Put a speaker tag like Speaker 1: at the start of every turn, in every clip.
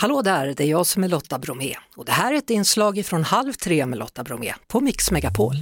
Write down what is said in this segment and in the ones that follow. Speaker 1: Hallå där, det är jag som är Lotta Bromé och det här är ett inslag från Halv tre med Lotta Bromé på Mix Megapol.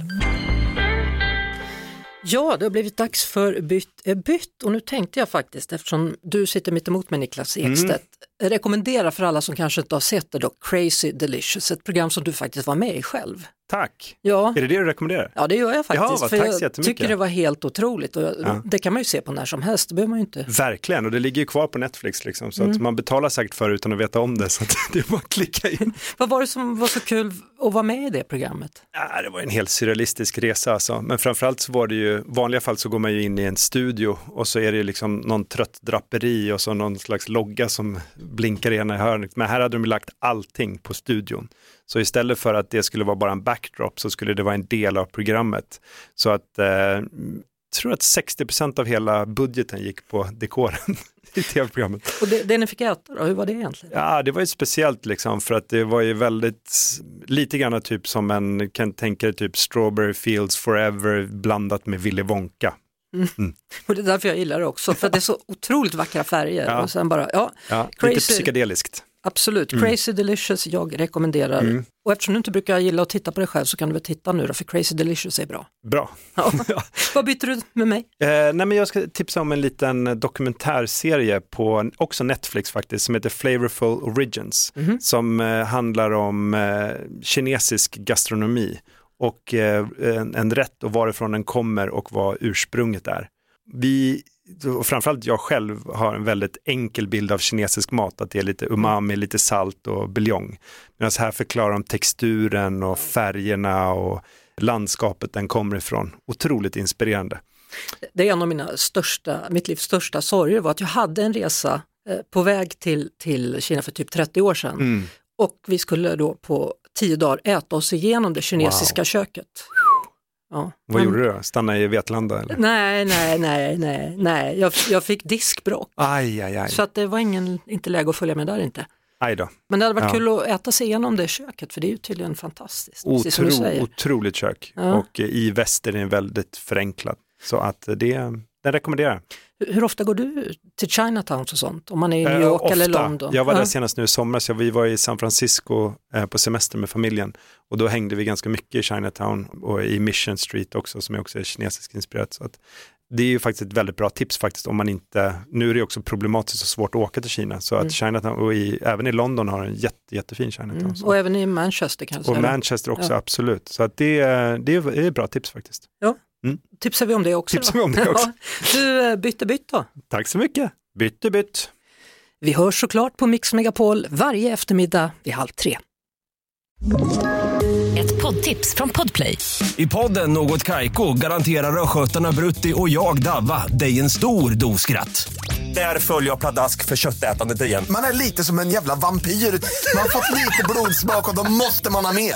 Speaker 1: Ja, det har blivit dags för bytt är bytt och nu tänkte jag faktiskt, eftersom du sitter mitt emot mig Niklas
Speaker 2: Mm.
Speaker 1: Ekstedt, rekommendera för alla som kanske inte har sett det då, Crazy Delicious, ett program som du faktiskt var med i själv.
Speaker 2: Tack!
Speaker 1: Ja,
Speaker 2: Är det det du rekommenderar?
Speaker 1: ja det gör jag faktiskt,
Speaker 2: Jaha, vad-
Speaker 1: för
Speaker 2: tack
Speaker 1: jag
Speaker 2: så jättemycket.
Speaker 1: tycker det var helt otroligt och jag-
Speaker 2: Ja. Mm.
Speaker 1: det kan man ju se på när som helst, det behöver man ju inte.
Speaker 2: Verkligen, och det ligger ju kvar på Netflix liksom, så att man betalar säkert för det utan att veta om det, så att det är bara att klicka in.
Speaker 1: Vad var det som var så kul att vara med i det programmet?
Speaker 2: Ja, Ah, det var en helt surrealistisk resa alltså, men framförallt så var det ju, i vanliga fall så går man ju in i en studio och så är det ju liksom någon trött draperi och så någon slags logga som blinkar i ena hörnet, men här hade de ju lagt allting på studion. Så istället för att det skulle vara bara en backdrop så skulle det vara en del av programmet. Så att, eh, jag tror att 60% av hela budgeten gick på dekoren i tv-programmet.
Speaker 1: Och det, det ni fick äta då, hur var det egentligen?
Speaker 2: Ja, det var ju speciellt liksom för att det var ju väldigt, lite grann typ som en, kan tänka dig typ Strawberry Fields Forever blandat med Willy Wonka.
Speaker 1: Och det är därför jag gillar det också, för att det är så otroligt vackra färger.
Speaker 2: Ja.
Speaker 1: Och sen bara, ja,
Speaker 2: Ja,
Speaker 1: Crazy.
Speaker 2: lite psykedeliskt.
Speaker 1: absolut,
Speaker 2: Mm.
Speaker 1: Crazy Delicious, jag rekommenderar. Och eftersom du inte brukar gilla att titta på dig själv så kan du väl titta nu då, för Crazy Delicious är bra.
Speaker 2: Bra.
Speaker 1: Ja. Vad byter du med mig?
Speaker 2: Eh, nej men jag ska tipsa om en liten dokumentärserie på också Netflix faktiskt som heter Flavorful Origins som eh, handlar om eh, kinesisk gastronomi och eh, en, en rätt och varifrån den kommer och vad ursprunget är. Vi, och framförallt jag själv har en väldigt enkel bild av kinesisk mat, att det är lite umami, lite salt och buljong. Medan här förklarar de texturen och färgerna och landskapet den kommer ifrån. Otroligt inspirerande.
Speaker 1: Det är en av mina största, mitt livs största sorger var att jag hade en resa eh, på väg till, till Kina för typ 30 år sedan.
Speaker 2: Mm.
Speaker 1: Och vi skulle då på tio dagar äta oss igenom det kinesiska köket. Ja.
Speaker 2: Vad gjorde du då? Stanna i Vetlanda eller?
Speaker 1: Nej, nej, nej, nej, nej. Jag, jag fick diskbråck.
Speaker 2: Aj, aj, aj.
Speaker 1: Så att det var ingen, inte läge att följa med där inte.
Speaker 2: Aj då.
Speaker 1: Men det hade varit
Speaker 2: Ja.
Speaker 1: kul att äta sig igenom det köket för det är ju tydligen fantastiskt. precis som du
Speaker 2: Otro,
Speaker 1: säger.
Speaker 2: otroligt kök.
Speaker 1: Ja.
Speaker 2: Och eh, i väst är den väldigt förenklad. Så att eh, det, den rekommenderar
Speaker 1: Hur, hur ofta går du till Chinatowns och sånt? Om man är i New
Speaker 2: Eh,
Speaker 1: York eller
Speaker 2: ofta.
Speaker 1: London?
Speaker 2: Jag var där
Speaker 1: Ja.
Speaker 2: senast nu i somras, jag, vi var i San Francisco eh, på semester med familjen och då hängde vi ganska mycket i Chinatown och i Mission Street också som är också är kinesiskt inspirerat. Så att det är ju faktiskt ett väldigt bra tips faktiskt om man inte, nu är det ju också problematiskt och svårt att åka till Kina så att Chinatown, och i, även i London har en jätte, jättefin Chinatown.
Speaker 1: Mm.
Speaker 2: Så.
Speaker 1: Och även i Manchester kanske?
Speaker 2: Och
Speaker 1: eller?
Speaker 2: Manchester också, absolut. Så att det, är- det är det är bra tips faktiskt.
Speaker 1: Tipsar vi om det också?
Speaker 2: Mm. Tipsar
Speaker 1: då?
Speaker 2: vi om det också.
Speaker 1: Ja. Du, eh, bytte bytt då.
Speaker 2: Tack så mycket. Bytte bytt.
Speaker 1: Vi hörs såklart på Mix Megapol varje eftermiddag vid halv tre.
Speaker 3: Ett poddtips från Podplay.
Speaker 4: I podden Något Kaiko garanterar östgötarna Brutti och jag, Davva, dig en stor dos skratt. Där följer jag pladask för köttätandet igen.
Speaker 5: Man är lite som en jävla vampyr. Man har fått lite blodsmak och då måste man ha mer.